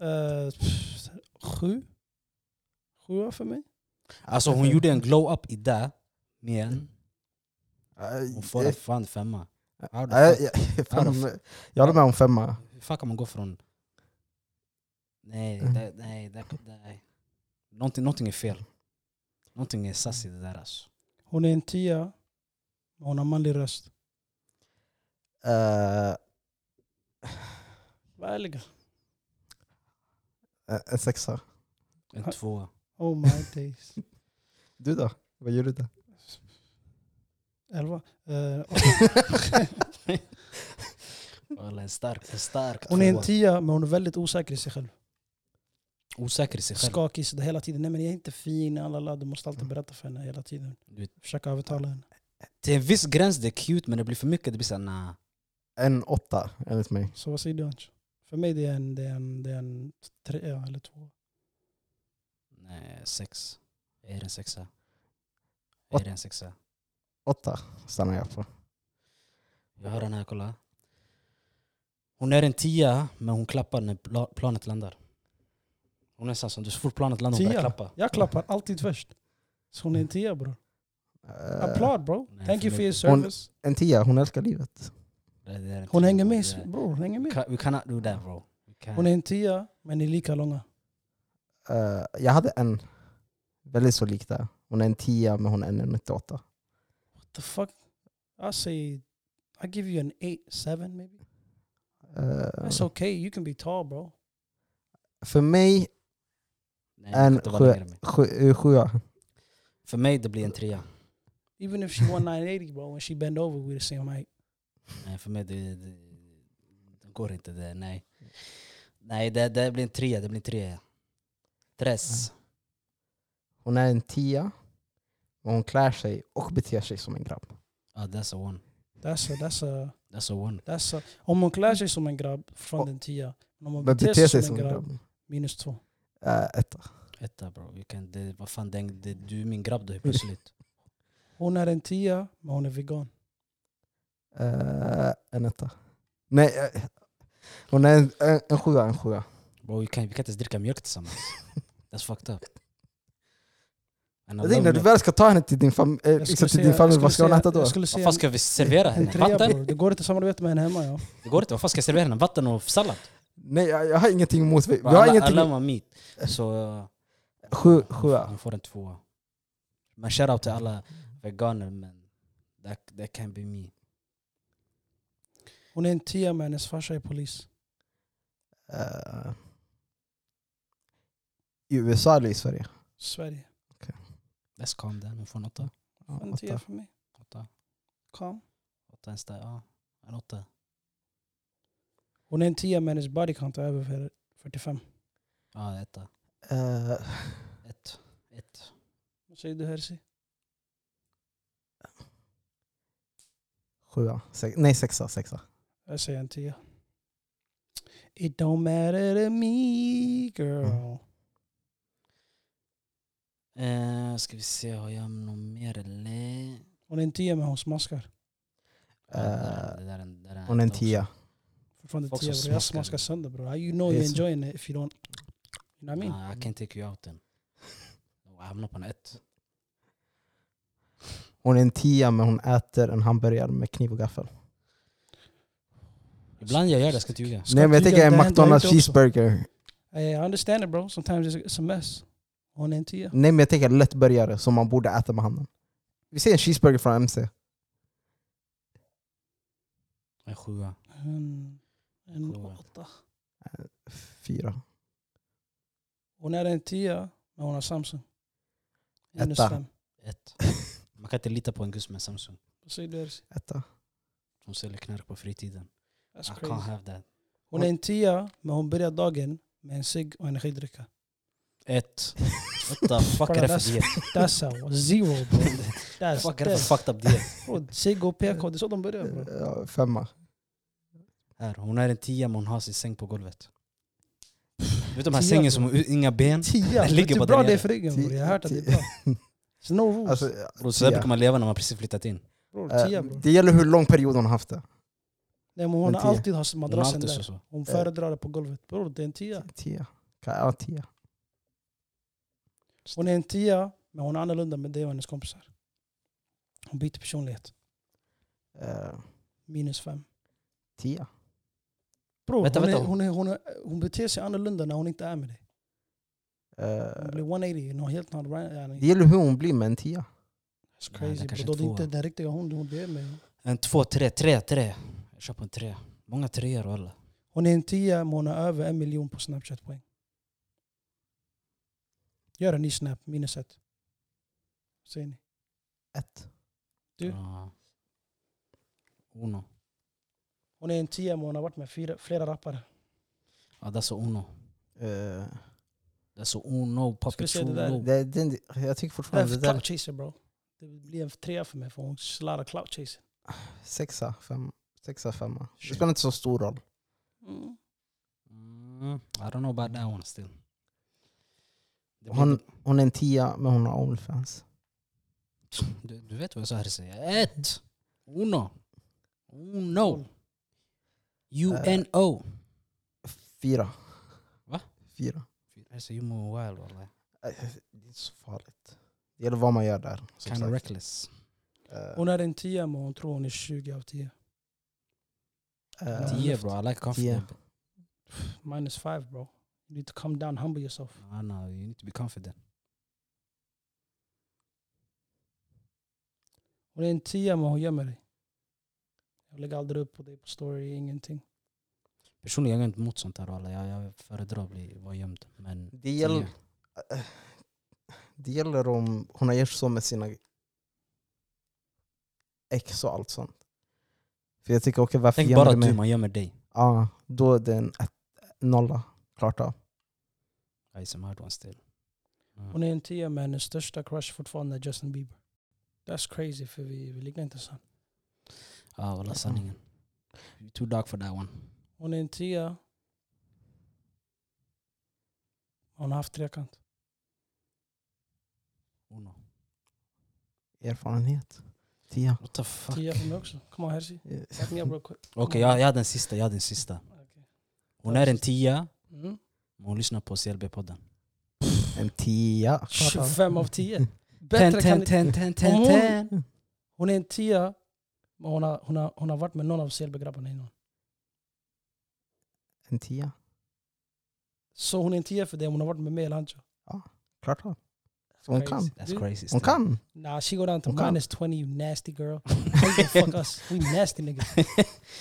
Eh, pff, sju? Sjua för mig?
Alltså hon gjorde en glow-up i det, men
Eh,
hon får en
eh,
fan femma. How the
eh,
fuck?
jag- (laughs) fem- Jag håller med om femma.
Hur fan kan man gå från... Nej, det, nej, det, nej. Någonting, någonting är fel. Någonting är sass i det där alltså.
Hon är en tia, men hon har manlig röst.
Eh,
Var ärliga.
eh, en sexa.
En tvåa.
Oh my days.
Du då? Vad gör du där?
(laughs) Elva. Eh,
Eller en é stark, en stark tá
hon är en
tvåa.
tia, men hon är väldigt osäker i sig själv.
Osäker i sig själv. Mm.
Skakig sådär hela tiden. Nej men jag är inte fin, lalala. du måste alltid berätta för henne hela tiden.
Du vet,
Försöka övertala henne.
till en viss gräns det är cute men det blir för mycket, det blir såhär nah.
En åtta enligt mig.
Så vad säger du Ansh? För mig det är en, det är en, det är en trea eller två.
Nej, sex. Är det en sexa? Är det en sexa?
Åtta stannar jag på.
Jag har den här, kolla. Hon är en tia, men hon klappar när pla- planet landar. Hon är en sån som, du- så fort planet landar hon börjar
Tia.
klappa.
Jag klappar alltid först. Så hon är en tia bror.
Eh,
Applåd bro.
Nej,
Thank you
för
for your
mig-
service.
En tia, hon älskar livet.
Det där är en
Hon
tia,
hänger
det
med
där-
bror, hon hänger
We
med.
ca- We cannot do that bro. We can't.
Hon är en tia, men ni är lika långa.
Eh, jag hade en väldigt så lik där. Hon är en tia men hon är en 98.
What the fuck? I say, I give you an eight, seven maybe.
Eh,
That's okay, you can be tall bro.
för mig,
Nej, jag kan
en
inte vara
sjö-
längre med.
sju, eh, sjua.
För mig det blir en trea.
Even if she won 980 bro, when she bend over we the same height.
Nej, för mig det, det, det går inte det. Nej, nej det, det blir en trea. Det blir en trea. Tres.
Mm.
Hon är en tia men hon klär sig och beter sig som en grabb.
Ja, that's a one.
That's a, that's a,
That's a one.
that's a. Om hon klär sig som en grabb, från den tia. Men om hon
Men beter sig som en grabb.
minus två.
Eh, etta.
Etta bro. You can, det, vad fan, det, det, du är min grabb då helt plötsligt.
Hon är en tia, men hon är vegan.
Eh, en etta. Nej, eh, hon är en, en, en sjua. En sjua.
Bro, you can, vi kan inte ens dricka
(laughs)
mjölk tillsammans. That's fucked up. And I
Jag tänkte,
love
när du
mjölk.
väl ska ta henne till din, fam eh,
Jag
liksom
skulle
till
säga-
din familj,
jag
vad ska
skulle
hon
säga-
äta då?
Jag skulle
Vad
säga
fan ska vi servera
(laughs)
en
henne?
trea
Vatten?
bror. Det går inte att samarbeta med henne hemma ja.
Det går inte. Vad fan ska jag servera henne? Vatten och sallad?
Nej, jag, jag har ingenting emot... Vi vi
Alla,
har
alla
ingenting...
var meat. Så...
Sju,
Hon-
sjua.
Hon får en tvåa. Men shoutout till alla veganer men that, that can be me.
Hon är en tia, men hennes farsa är polis.
Eh, I USA eller i Sverige?
Sverige.
Let's calm down. Hon får en åtta.
Ja,
En tia
åtta.
för mig.
Åtta.
Kom.
Åtta en stark. Ja, en åtta.
Hon är en tia, men hennes body count är över för- 45.
Ja, en etta.
Eh,
Ett. Ett.
Vad säger du Herzi?
sjua. Sex, nej, sexa. sexa.
Jag säger en tia. It don't matter to me
Mm.
girl.
Eh, ska vi se, har jag något mer eller?
Hon är en tia men hon smaskar.
Eh,
Det där är en- det där är
Hon är en
hemskt också.
tia.
Fortfarande
Folk
tia
som
bror. Jag
smaskar.
smaskar sönder bror. You know
Det är
you're
så.
enjoying it if you don't. You know what I mean?
Ah, I can't take you out (laughs) then. Jag hamnar på en ett.
Hon är en tia men hon äter en hamburgare med kniv och gaffel.
Ibland jag gör det, jag ska inte ljuga.
Ska
Nej men jag
tydligen
tänker en
det händer
McDonalds
inte också.
cheeseburger.
Eh, I understand it bro. Sometimes it's a mess. Hon är en tia.
Nej men jag tänker en lättburgare som man borde äta med handen. Vi ser en cheeseburger från MC.
En sjua.
En, en
Sjua.
åtta.
Fyra.
Hon är en tia men hon har Samsung. Minus
Etta.
fem. (laughs)
Ett. Man kan inte lita på en gus med Samsung
Vad säger du Ersi? (laughs)
Etta.
som säljer knark på fritiden. I
That's
can't
crazy.
have that.
Hon är en tia men hon börjar dagen med en cigg och energidricka.
Ett. What
(laughs)
the fuck är det för diet?
That's how. Zero bro.
(laughs)
That's
Fuck är det
death.
för fucked up diet?
Bro, Cigg och PK, det är så de börjar
(laughs)
bro.
Ja, femma.
Här, hon är en tia men hon har sin säng på golvet.
(laughs)
Du vet de här
Tia,
sängen
bro.
som har u- inga ben?
Tia!
Den
Vet
ligger
du
bara
hur
där
bra det är
nere.
för ryggen bror? Jag har hört att det är
Tia.
bra. It's no rules.
Alltså,
Bro, så där
tia.
brukar man leva när man precis flyttat in.
bror,
eh,
tia bror.
det gäller hur lång period hon har haft det.
Nej, men hon
en
har
tia.
alltid har
Hon har
madrassen
alltid så.
där.
så.
Hon föredrar det på golvet. Bror, det är en tia.
Tia. Kan- Ja, tia.
Hon är en tia, men hon är annorlunda med det och hennes kompisar. Hon byter personlighet.
Eh,
Minus fem.
tia.
Bror,
Vänta,
hon, är,
vänta.
hon, är, hon, är, hon beter sig annorlunda när hon inte är med dig. Hon
Eh,
blir 180, hon är helt annan.
det
It's
gäller hur hon blir med en tia.
Nej, det
crazy
kanske
bror. Då
är
är det inte
tvåa.
den riktiga hon hon är med.
En, två, tre, tre, tre. Jag kör på en tre. Många treor walla.
Hon är en tia, men hon har över en miljon på Snapchat-poäng. Gör en ny Snap, minus ett. Ser ni?
Ett.
Du?
Ja. Uno.
Hon är en tia, men hon har varit med fyra, flera rappare.
Ja, det är så uno.
Eh,
Det är så uno.
Ska vi
Papi
se det där?
chulo.
det, den, jag tycker
Det är
fortfarande
för
det där
clout chaser bro. Det blir en trea för mig, för hon sladdar clout chaser.
sexa, fem, sexa, femma. Det spelar inte så stor roll.
Mm.
Mm, I don't know about that one still. Det blir
Hon,
inte-
hon är en tia men hon har Onlyfans.
du, du vet vad jag sa här säger. Ett. Uno. Uno. U-N-O.
Fyra.
Va?
Fyra.
Alltså, you move wild walla.
Eh, Det är inte så farligt. Det gäller vad man gör där. som
Kind of
sagt.
reckless.
Eh,
Hon är en tia, men hon tror hon är 20 av 10.
eh,
Tio bro, I like confident.
Minus five bro. You need to come down, humble yourself.
No, no, you need to be confident.
Hon är en tia, men hon gömmer dig. Jag lägger aldrig upp på dig på story, ingenting.
Personligen jag är inte emot sånt här alla. Jag, jag föredrar att bli, vara gömd. Men
Det gäller,
tio.
eh, det gäller om hon har gjort så med sina ex och allt sånt. För jag tycker, okej varför
Tänk
gömmer
bara
du
typ att
mig?
du, man gömmer dig.
Ja, då är det en ett- nolla. Klart av.
I some hard one still. Mm.
Hon är en tia, men hennes största crush fortfarande är Justin Bieber. That's crazy, för vi, vi ligger inte så.
Ja, walla sanningen.
Mm.
You're too dark for that one.
Hon är en tia. Hon har haft trekant.
Uno.
Erfarenhet. Tia.
What the fuck?
Tia
Okej,
för mig också. Kom on Herzi.
Eh,
Back me up real quick.
jag, jag hade den sista. Jag hade den sista. Hon är en tia,
Mm.
men hon lyssnar på CLB-podden.
En tia.
25 av 10.
(laughs) Ten,
Bättre kan
ten,
inte.
ten, ten, ten,
Om hon-
ten.
Hon är en tia. Men hon har, hon, har, hon har varit med någon av CLB-grabbarna innan.
En tia.
Så hon är en tia för det. Hon har varit med mig eller Ancho.
Klart av. Så hon
Crazy.
kan.
That's crazy.
Hon
still. (laughs)
kan.
Nah, she go down to
Hon kan.
minus 20 you nasty girl. How you fuck us? We nasty niggas.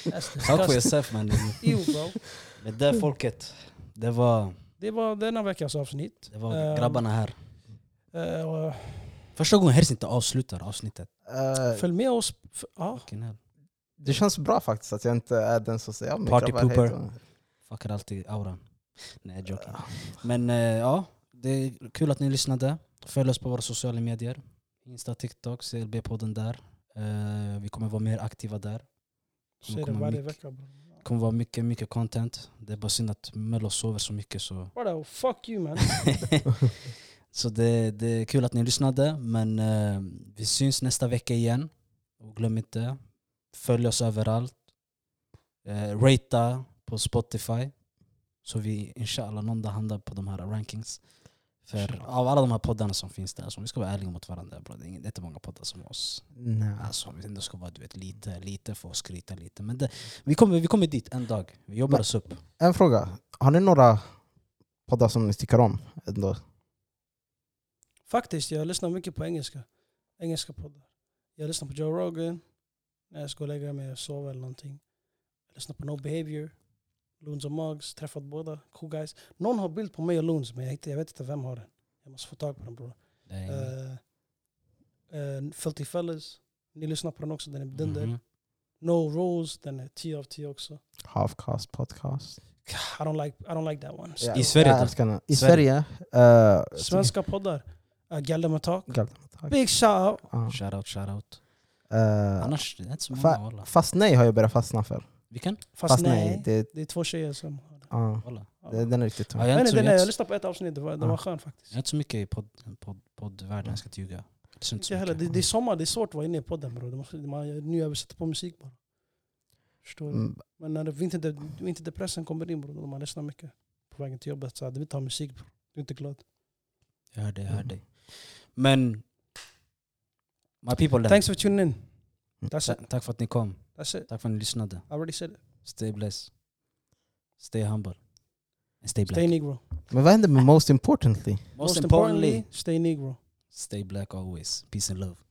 That's
Talk
disgusting.
for yourself man.
Ew bro.
Men det är folket. Det var,
Det var denna veckans avsnitt.
det
Ehm.
var grabbarna här.
Eh,
Första gången Hers inte avslutar avsnittet.
Eh,
följ med oss. f- Ja.
Fucking hell.
det känns bra faktiskt att jag inte är den som säger "Ja, men
Party
grabbar, hej
pooper.
då."
Fuckar alltid auran. Nej, jag joking. Men eh, ja, det är kul att ni lyssnade. Följ oss på våra sociala medier. Insta, TikTok, CLB-podden där. Eh, vi kommer vara mer aktiva där.
Du säger det
kommer
varje
mycket.
vecka bro.
Det kommer vara mycket, mycket content. Det är bara synd att Mello sover så mycket så...
Vadå? Fuck you man.
så det, det är kul att ni lyssnade, men eh, vi syns nästa vecka igen. Och glöm inte, följ oss överallt. Eh, rata på Spotify. Så vi inshallah någon dag hamnar på de här rankings. För av alla de här poddarna som finns där, alltså, om vi ska vara ärliga mot varandra, bro, det är ingen- det är inte många poddar som oss.
Nej.
Alltså, om vi ändå ska vara du vet, lite, lite för att skryta lite. Men det, vi, kommer, vi kommer dit en dag. Vi jobbar
Men-
oss upp.
En fråga. Har ni några poddar som ni tycker om? Ändå?
Faktiskt, jag lyssnar mycket på engelska. Engelska poddar. Jag lyssnar på Joe Rogan. När jag ska gå och lägga mig och sova eller någonting. Jag lyssnar på No Behavior. Loons och Mugs. Träffat båda. Cool guys. Någon har bild på mig och Loons men jag, hittar, jag vet inte vem har den. Jag måste få tag på den bror.
Nej.
Uh, uh, Filthy Fellas. Ni lyssnar på den också, den är dunder.
Mhm.
No Rules, den är 10 av 10 också.
Halfcast podcast?
I don't like, I don't like that one.
I Sverige
Jag
då?
älskar den. I
Sverige.
Sverige? eh,
Svenska poddar. Uh, Galdem och
Mm.
Tak.
Galtan, tack.
Big shout!
Ja.
Shoutout, shoutout.
Eh,
Annars, det är inte så många
Fa-
walla.
Fast nej har jag börjat fastna för.
Vi kan
Fast,
Fast
nej.
nej,
det...
det,
är två tjejer som har den.
ja,
walla.
Ja.
det, den är riktigt tung.
Ja, jag,
Nej,
är
nej,
inte så, jag,
den är,
är
jag
inte,
lyssnade på ett avsnitt, det var, det
Ja.
var skön faktiskt.
jag är inte så mycket i podd- podd- poddvärlden, jag ska inte ljuga. Jag lyssnar inte
Inte
så
heller. Det,
mycket.
det är sommar, det är svårt att vara inne i podden bror. Det måste- Man, nu jag sätter på musik bara. Förstår du?
Mm,
Men när det- vinter- vinterdepressen kommer in bror, då man lyssnar mycket på vägen till jobbet. Så här, du vill ta musik bror. Du är inte glad.
Jag hör dig, jag hör
Mm.
dig. Men, my people then.
Thanks for tuning in. That's it.
Ta- Tack för att ni kom.
That's it.
Tack för att ni lyssnade.
I already said it.
Stay blessed. Stay humble. And stay black.
Stay negro.
Men vad händer med most importantly?
Most importantly,
stay negro.
stay black always. Peace and love.